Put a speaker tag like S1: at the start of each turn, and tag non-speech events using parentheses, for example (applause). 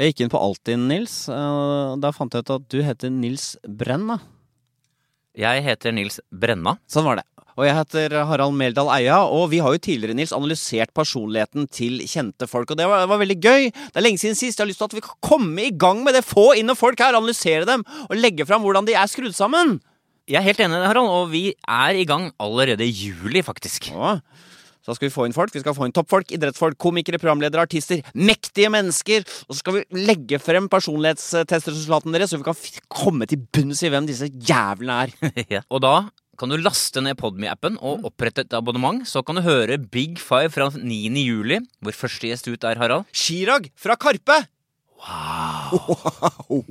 S1: Jeg gikk inn på Altinn, Nils. eh, Der fant jeg ut at du heter Nils Brenna.
S2: Jeg heter Nils Brenna.
S1: Sånn var det. Og jeg heter Harald Meldal Eia, og vi har jo tidligere Nils, analysert personligheten til kjente folk. Og det var, det var veldig gøy. Det er lenge siden sist. Jeg har lyst til at vi kan komme i gang med det. Få inn noen folk her, analysere dem, og legge fram hvordan de er skrudd sammen.
S2: Jeg er helt enig, Harald, og vi er i gang allerede i juli, faktisk.
S1: Ja. Så skal vi få inn folk. Vi skal få inn toppfolk, idrettsfolk, komikere, programledere, artister. Mektige mennesker. Og så skal vi legge frem personlighetstestresultatene deres, så vi kan f komme til bunns i hvem disse jævlene er.
S2: (laughs) Ja. Og da kan du laste ned Podme-appen og opprette et abonnement. Så kan du høre Big Five fra 9. juli, hvor første gjest ut er Harald.
S1: Chirag fra Karpe!
S2: Wow.